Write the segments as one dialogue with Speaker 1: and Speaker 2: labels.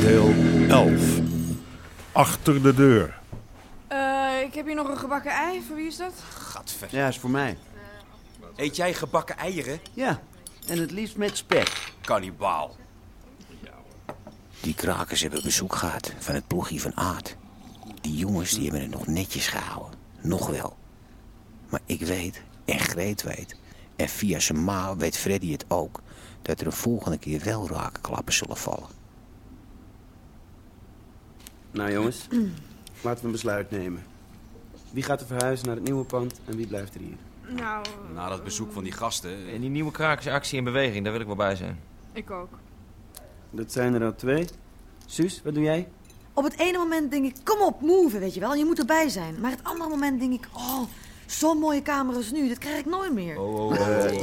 Speaker 1: Deel 11. Achter de deur.
Speaker 2: Eh, ik heb hier nog een gebakken ei. Voor wie is dat?
Speaker 3: Gadver.
Speaker 4: Ja, is voor mij.
Speaker 3: Eet jij gebakken eieren?
Speaker 4: Ja, en het liefst met spek.
Speaker 3: Kannibaal.
Speaker 5: Die krakers hebben bezoek gehad van het ploegje van Aard. Die jongens die hebben het nog netjes gehouden. Nog wel. Maar ik weet, en Greet weet, en via zijn ma weet Freddy het ook... dat er een volgende keer wel raakklappen zullen vallen.
Speaker 4: Nou jongens, laten we een besluit nemen. Wie gaat er verhuizen naar het nieuwe pand en wie blijft er hier?
Speaker 2: Nou,
Speaker 3: Na dat bezoek van die gasten.
Speaker 6: En die nieuwe krakersactie in beweging, daar wil ik wel bij zijn.
Speaker 2: ik ook.
Speaker 4: Dat zijn er al twee. Suus, wat doe jij?
Speaker 7: Op het ene moment denk ik, kom op, move, weet je wel. Je moet erbij zijn. Maar het andere moment denk ik, oh, zo'n mooie camera's nu. Dat krijg ik nooit meer.
Speaker 2: oh.
Speaker 6: Oh.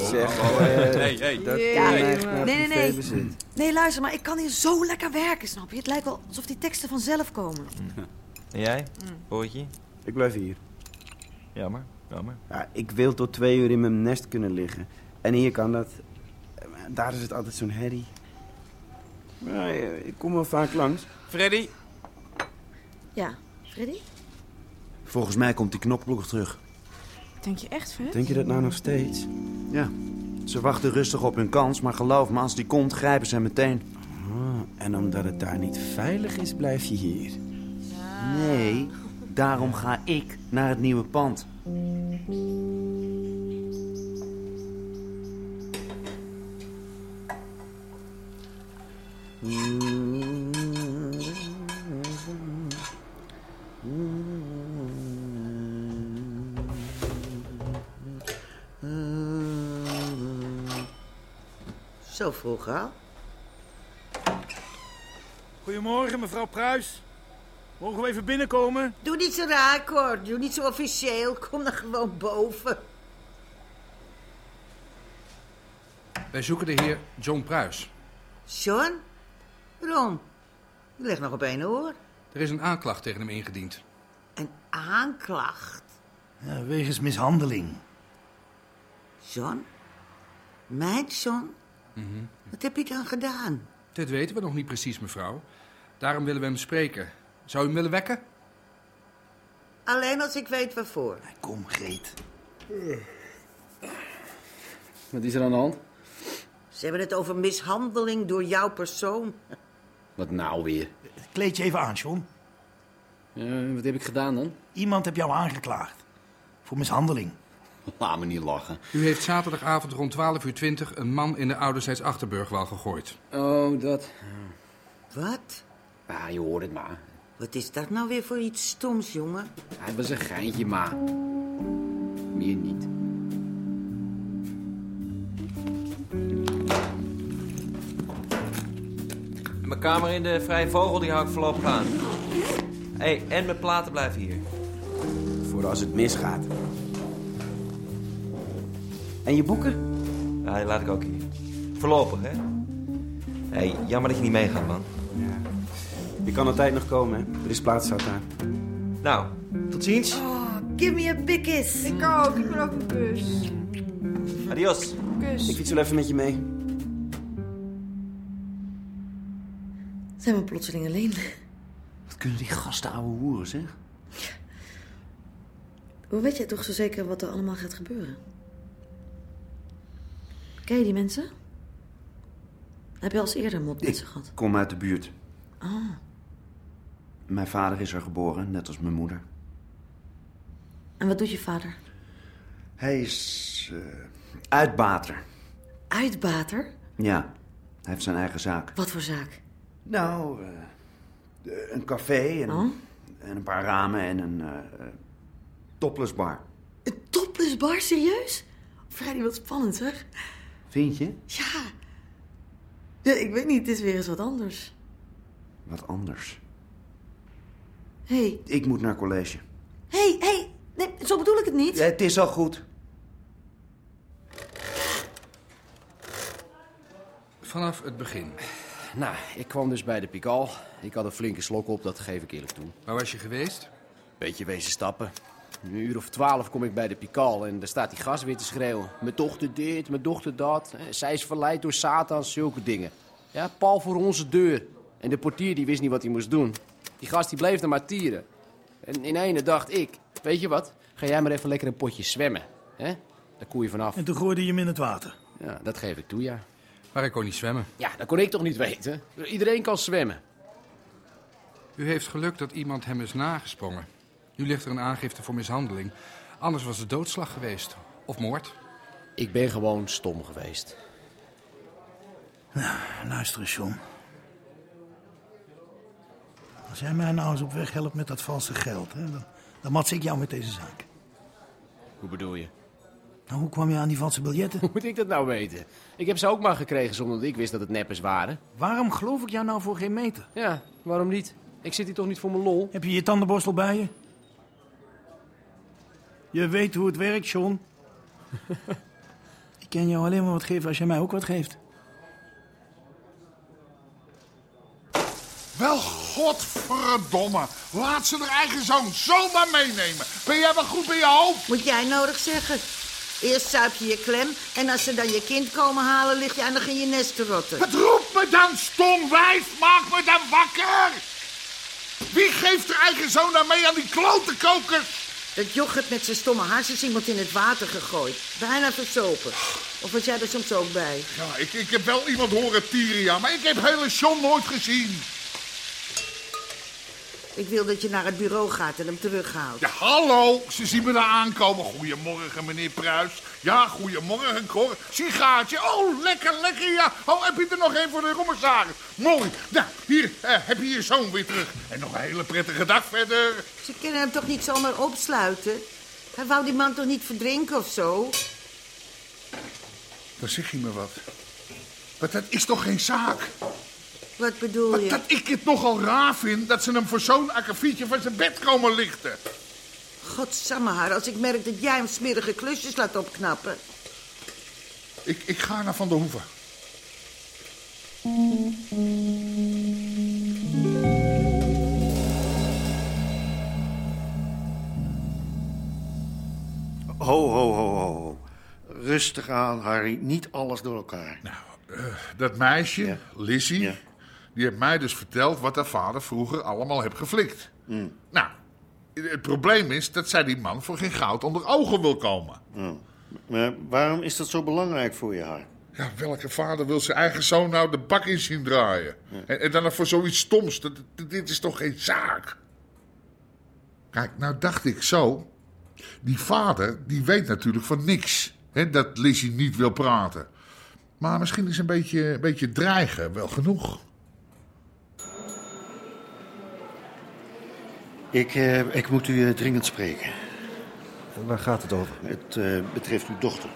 Speaker 4: Zeg,
Speaker 3: Nee, hey,
Speaker 2: Dat
Speaker 7: Ja,
Speaker 4: blijft maar
Speaker 7: Nee, nee, nee.
Speaker 4: privébezit.
Speaker 7: Nee, luister, maar ik kan hier zo lekker werken, snap je? Het lijkt wel alsof die teksten vanzelf komen.
Speaker 6: En jij? Poortje?
Speaker 4: Ik blijf hier.
Speaker 6: Jammer, jammer.
Speaker 4: Ja, ik wil tot twee uur in mijn nest kunnen liggen. En hier kan dat. Eh, maar Daar is het altijd zo'n herrie. Maar, eh, ik kom wel vaak langs.
Speaker 3: Freddy?
Speaker 7: Ja, Freddy?
Speaker 5: Volgens mij komt die knokploeg terug.
Speaker 2: Denk je echt, Fred?
Speaker 4: Denk je dat nou nog steeds?
Speaker 5: Ze wachten rustig op hun kans, maar geloof me, als die komt, grijpen ze meteen.
Speaker 4: Ah, en omdat het daar niet veilig is, blijf je hier.
Speaker 5: Nee, daarom ga ik naar het nieuwe pand.
Speaker 8: Zo vroeg al?
Speaker 9: Goedemorgen, mevrouw Pruis. Mogen we even binnenkomen?
Speaker 8: Doe niet zo raar, hoor. Doe niet zo officieel. Kom dan gewoon boven.
Speaker 10: Wij zoeken de heer John Pruis.
Speaker 8: John? Ron, je ligt nog op één oor.
Speaker 10: Er is een aanklacht tegen hem ingediend.
Speaker 8: Een aanklacht.
Speaker 9: wegens mishandeling.
Speaker 8: John? Mijn John? Wat heb je dan gedaan?
Speaker 10: Mhm. Dit weten we nog niet precies, mevrouw. Daarom willen we hem spreken. Zou u hem willen wekken?
Speaker 8: Alleen als ik weet waarvoor.
Speaker 9: Kom, Greet.
Speaker 4: Wat is er aan de hand?
Speaker 8: Ze hebben het over mishandeling door jouw persoon.
Speaker 4: Wat nou weer?
Speaker 9: Kleed je even aan, John.
Speaker 4: Eh, wat heb ik gedaan dan?
Speaker 9: Iemand heb jou aangeklaagd. Voor mishandeling.
Speaker 4: Laat me niet lachen.
Speaker 10: U heeft zaterdagavond rond 12.20 uur een man in de ouderzijds Achterburgwal gegooid.
Speaker 4: Oh, dat.
Speaker 8: Wat?
Speaker 4: Ah, je hoort het maar.
Speaker 8: Wat is dat nou weer voor iets stoms, jongen?
Speaker 4: Het was een geintje, maar. Meer niet.
Speaker 6: En mijn kamer in de Vrije Vogel, die hou ik voorlopig aan. Hé, hey, en mijn platen blijven hier.
Speaker 4: Voor als het misgaat. En je boeken?
Speaker 6: Ja, die laat ik ook hier. Voorlopig, hè? Hé, hey, jammer dat je niet meegaat, man.
Speaker 4: Je kan altijd nog komen, hè? Er is plaats zat daar.
Speaker 6: Nou, tot ziens.
Speaker 7: Oh, give me a big kiss.
Speaker 2: Ik ook. Ik wil ook een kus.
Speaker 6: Adios.
Speaker 4: Ik
Speaker 2: Kus.
Speaker 4: fiets wel even met je mee.
Speaker 7: Zijn we plotseling alleen?
Speaker 4: Wat kunnen die gasten ouwe hoeren, zeg?
Speaker 7: Hoe weet jij toch zo zeker wat er allemaal gaat gebeuren? Ken je die mensen? Heb je al eens eerder een mop Ah, met ze gehad?
Speaker 4: Kom uit de buurt. Mijn vader is er geboren, net als mijn moeder.
Speaker 7: En wat doet je vader?
Speaker 4: Hij is. eh, uitbater.
Speaker 7: Uitbater?
Speaker 4: Ja, hij heeft zijn eigen zaak.
Speaker 7: Wat voor zaak?
Speaker 4: Nou, eh, eh, een café en,
Speaker 7: Oh.
Speaker 4: en een paar ramen en een eh eh, topless bar.
Speaker 7: Een topless bar, serieus? Freddy, wat spannend, zeg.
Speaker 4: Vind je?
Speaker 7: Ja. ja. Ik weet niet, het is weer eens wat anders.
Speaker 4: Wat anders.
Speaker 7: Hé, hey.
Speaker 4: Ik moet naar college.
Speaker 7: hé, hey, hé. Hey. Nee, zo bedoel ik het niet.
Speaker 4: Ja, het is al goed.
Speaker 10: Vanaf het begin.
Speaker 11: Nou, ik kwam dus bij de Pikal. Ik had een flinke slok op, dat geef ik eerlijk toe.
Speaker 10: Waar was je geweest?
Speaker 11: Beetje wezen stappen. Een uur of twaalf kom ik bij de Pikal en daar staat die gast weer te schreeuwen. Mijn dochter dit, mijn dochter dat. Eh, Zij is verleid door Satan, zulke dingen. Ja, pal voor onze deur. En de portier die wist niet wat hij moest doen. Die gast die bleef er maar tieren. En in ene dacht ik, weet je wat? Ga jij maar even lekker een potje zwemmen. Hè? Daar koe je vanaf.
Speaker 9: En toen gooide je hem in het water.
Speaker 11: Ja, dat geef ik toe, ja.
Speaker 10: Maar ik kon niet zwemmen.
Speaker 11: Ja, dat kon ik toch niet weten? Iedereen kan zwemmen.
Speaker 10: U heeft geluk dat iemand hem is nagesprongen. Nu ligt er een aangifte voor mishandeling. Anders was het doodslag geweest. Of moord.
Speaker 11: Ik ben gewoon stom geweest.
Speaker 9: Nou, Luister eens, John. Als jij mij nou eens op weg helpt met dat valse geld, hè, dan, dan mats ik jou met deze zaak.
Speaker 11: Hoe bedoel je?
Speaker 9: Nou, hoe kwam je aan die valse biljetten?
Speaker 11: Hoe moet ik dat nou weten? Ik heb ze ook maar gekregen zonder dat ik wist dat het neppers waren.
Speaker 9: Waarom geloof ik jou nou voor geen meter?
Speaker 11: Ja, waarom niet? Ik zit hier toch niet voor mijn lol?
Speaker 9: Heb je je tandenborstel bij je? Je weet hoe het werkt, John. ik kan jou alleen maar wat geven als jij mij ook wat geeft.
Speaker 12: Wel, godverdomme. Laat ze haar eigen zoon zomaar meenemen. Ben jij wel goed bij je hoofd?
Speaker 8: Moet jij nodig zeggen. Eerst zuip je je klem en als ze dan je kind komen halen, lig je eindig in je nest te rotten.
Speaker 12: Wat roept me dan, stom wijf? Maak me dan wakker. Wie geeft haar eigen zoon nou mee aan die klote kokers?
Speaker 8: Dat yoghurt met zijn stomme hars is iemand in het water gegooid. Bijna verzopen. Of was jij er soms ook bij?
Speaker 12: Ja, ik, ik heb wel iemand horen tieren, ja, maar ik heb hele John nooit gezien.
Speaker 8: Ik wil dat je naar het bureau gaat en hem terughaalt.
Speaker 12: Ja, hallo. Ze zien me daar aankomen. Goedemorgen, meneer Pruis. Ja, goedemorgen, Cor. Sigaartje. Oh, lekker, lekker, ja. Oh, heb je er nog één voor de commissaris? Mooi. Nou, hier eh, heb je je zoon weer terug. En nog een hele prettige dag verder.
Speaker 8: Ze kunnen hem toch niet zomaar opsluiten? Hij wou die man toch niet verdrinken of zo?
Speaker 12: Dan zeg je me wat. Maar dat is toch geen zaak?
Speaker 8: Wat bedoel je?
Speaker 12: Dat ik het nogal raar vind dat ze hem voor zo'n akkefietje van zijn bed komen lichten.
Speaker 8: Godsamme haar, als ik merk dat jij hem smerige klusjes laat opknappen.
Speaker 12: Ik, ik ga naar Van der Hoeven.
Speaker 13: Ho, ho, ho, ho. ho. Rustig aan, Harry. Niet alles door elkaar.
Speaker 1: Eh,
Speaker 12: Dat meisje, Lizzie, die heeft mij dus verteld wat haar vader vroeger allemaal heeft geflikt.
Speaker 8: Mm.
Speaker 12: Nou, het probleem is dat zij die man voor geen goud onder ogen wil komen.
Speaker 13: Ja. Maar waarom is dat zo belangrijk voor je, Harry?
Speaker 12: Ja, welke vader wil zijn eigen zoon nou de bak in zien draaien? En, en dan nog voor zoiets stoms. Dat, dat- dit is toch geen zaak? Kijk, nou dacht ik zo. Die vader, die weet natuurlijk van niks. Hè, dat Lizzie niet wil praten. Maar misschien is een beetje, een beetje dreigen wel genoeg.
Speaker 13: Ik, eh, ik moet u eh, dringend spreken.
Speaker 14: Waar gaat het over?
Speaker 13: Het eh, betreft uw dochter.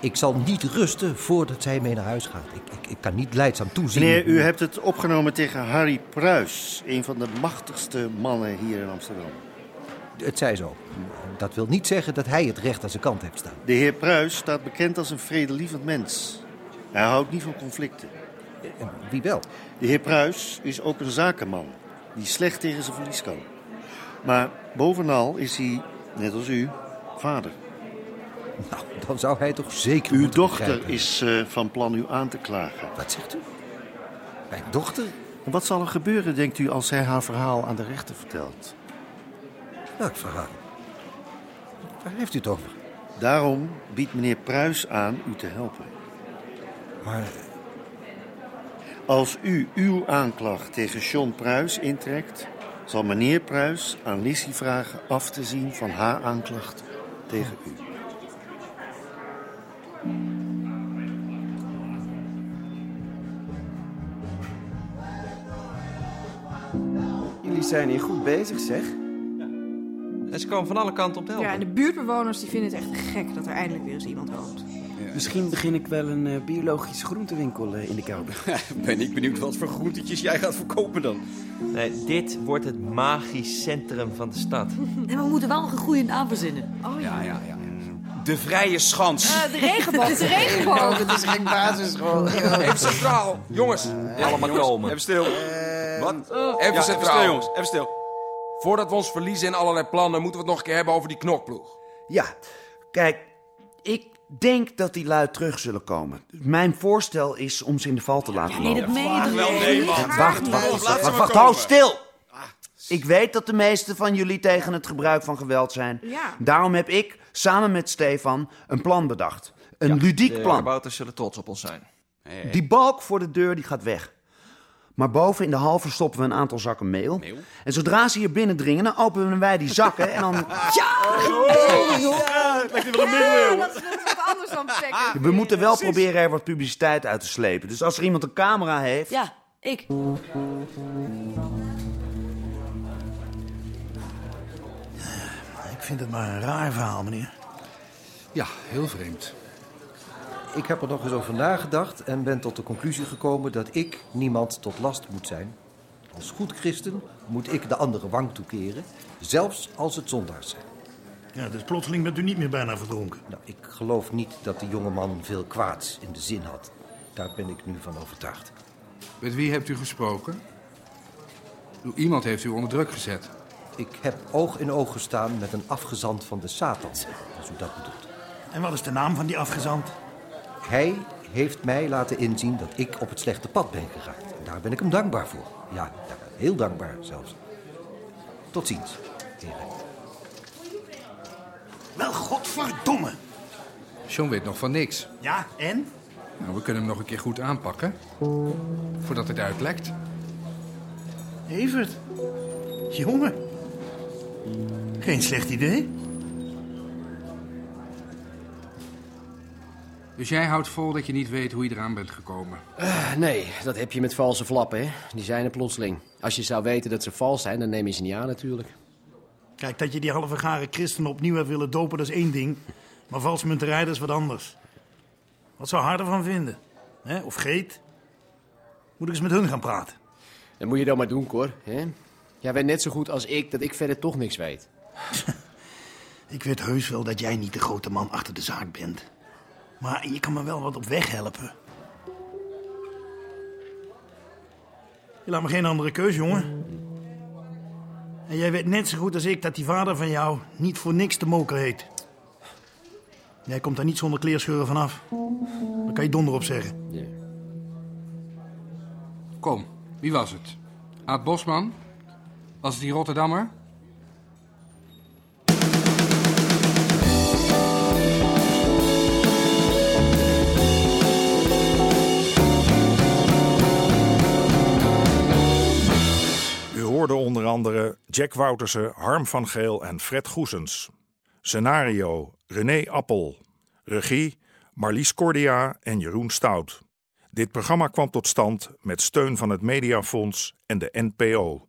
Speaker 14: Ik zal niet rusten voordat zij mee naar huis gaat. Ik, ik, ik kan niet leidzaam toezien.
Speaker 13: Meneer, u hebt het opgenomen tegen Harry Pruis, een van de machtigste mannen hier in Amsterdam.
Speaker 14: Het zij zo. Dat wil niet zeggen dat hij het recht aan zijn kant heeft staan.
Speaker 13: De heer Pruis staat bekend als een vredelievend mens. Hij houdt niet van conflicten.
Speaker 14: Wie wel?
Speaker 13: De heer Pruis is ook een zakenman die slecht tegen zijn verlies kan. Maar bovenal is hij, net als u, vader.
Speaker 14: Nou, dan zou hij toch zeker.
Speaker 13: Uw
Speaker 14: moeten
Speaker 13: dochter
Speaker 14: begrijpen.
Speaker 13: is eh, van plan u aan te klagen.
Speaker 14: Wat zegt u? Mijn dochter?
Speaker 13: En wat zal er gebeuren, denkt u, als zij haar verhaal aan de rechter vertelt?
Speaker 14: Welk verhaal? Waar heeft u het over?
Speaker 13: Daarom biedt meneer Pruis aan u te helpen.
Speaker 14: Maar
Speaker 13: Als u uw aanklacht tegen John Pruis intrekt, zal meneer Pruis aan Lissy vragen af te zien van haar aanklacht tegen u.
Speaker 4: Jullie zijn hier goed bezig, zeg.
Speaker 6: En ze komen van alle kanten op de helft.
Speaker 2: Ja, en de buurtbewoners die vinden het echt gek dat er eindelijk weer eens iemand woont.
Speaker 4: Misschien begin ik wel een eh, biologische groentewinkel eh, in de kelder.
Speaker 6: Ben ik benieuwd wat voor groentetjes jij gaat verkopen dan. Nee, dit wordt het magisch centrum van de stad.
Speaker 7: En we moeten wel een goede naam verzinnen. Oh ja.
Speaker 6: ja, ja. De Vrije Schans.
Speaker 7: de regenboog, de regenboog.
Speaker 4: Oh, Het is geen basisschool.
Speaker 3: Even centraal.
Speaker 6: Eh,
Speaker 3: Jongens, allemaal komen. Even stil. Wat?
Speaker 15: Even
Speaker 3: Ja,
Speaker 15: centraal.
Speaker 3: stil, jongens. Even stil.
Speaker 15: Voordat we ons verliezen in allerlei plannen, moeten we het nog een keer hebben over die knokploeg.
Speaker 16: Ja, kijk, ik denk dat die lui terug zullen komen. Mijn voorstel is om ze in de val te laten
Speaker 7: nee, dat
Speaker 16: lopen.
Speaker 7: meen ik Wel, nee, niet. man.
Speaker 16: Ja, Wacht,
Speaker 7: Laat
Speaker 16: wacht,
Speaker 7: ze
Speaker 16: wacht,
Speaker 7: maar
Speaker 16: wacht,
Speaker 7: komen. Ah.
Speaker 16: hou stil! Ik weet dat de meesten van jullie tegen het gebruik van geweld zijn.
Speaker 7: Ja.
Speaker 16: Daarom heb ik samen met Stefan een plan bedacht. Een ludiek
Speaker 6: de
Speaker 16: plan.
Speaker 6: kabouters zullen trots op ons zijn. Eh.
Speaker 16: Die balk voor de deur die gaat weg. Maar boven in de hal verstoppen we een aantal zakken meel. En zodra ze hier binnendringen, dan openen wij die zakken en dan...
Speaker 2: Ja,
Speaker 16: lijkt wel een middeleeuwen.
Speaker 2: Oh, dat is dat is wat anders dan plekken.
Speaker 16: We moeten wel proberen er wat publiciteit uit te slepen. Dus als er iemand een camera heeft...
Speaker 7: Ja, ik.
Speaker 9: Ik vind het maar een raar verhaal, meneer.
Speaker 10: Ja, heel vreemd.
Speaker 14: Ik heb er nog eens over nagedacht en ben tot de conclusie gekomen dat ik niemand tot last moet zijn. Als goed christen moet ik de andere wang toekeren, zelfs als het zondaars zijn.
Speaker 9: Ja, dus plotseling bent u niet meer bijna verdronken.
Speaker 14: Nou, ik geloof niet dat de jongeman veel kwaads in de zin had. Daar ben ik nu van overtuigd.
Speaker 10: Met wie hebt u gesproken? Iemand heeft u onder druk gezet.
Speaker 14: Ik heb oog in oog gestaan met een afgezant van de Satan, als u dat bedoelt.
Speaker 9: En wat is de naam van die afgezant?
Speaker 14: Hij heeft mij laten inzien dat ik op het slechte pad ben geraakt. En daar ben ik hem dankbaar voor. Ja, ja, heel dankbaar zelfs. Tot ziens, heren.
Speaker 9: Wel, godverdomme.
Speaker 10: John weet nog van niks.
Speaker 9: Ja, en?
Speaker 10: Nou, we kunnen hem nog een keer goed aanpakken. Voordat het uitlekt.
Speaker 9: Evert. Jongen. Geen slecht idee.
Speaker 10: Dus jij houdt vol dat je niet weet hoe je eraan bent gekomen.
Speaker 11: Eh, nee, dat heb je met valse flappen, hè. Die zijn er plotseling. Als je zou weten dat ze vals zijn, dan neem je ze niet aan natuurlijk.
Speaker 9: Kijk, dat je die halve garen christenen opnieuw hebt willen dopen, dat is één ding. Maar valsmunterij, dat is wat anders. Wat zou Harder van vinden? Hè? Of Geet? Moet ik eens met hun gaan praten?
Speaker 11: Dat moet je dan maar doen, Cor. Hè? Jij weet net zo goed als ik dat ik verder toch niks weet.
Speaker 9: Ik weet heus wel dat jij niet de grote man achter de zaak bent. Maar je kan me wel wat op weg helpen. Je laat me geen andere keus, jongen. En jij weet net zo goed als ik dat die vader van jou niet voor niks de moker heet. Jij komt daar niet zonder kleerscheuren vanaf. Daar kan je donder op zeggen.
Speaker 10: Kom, wie was het? Aad Bosman? Was het die Rotterdammer?
Speaker 1: U hoorde onder andere Jack Woutersen, Harm van Geel en Fred Goesens. Scenario René Appel. Regie Marlies Cordia en Jeroen Stout. Dit programma kwam tot stand met steun van het Mediafonds en de NPO.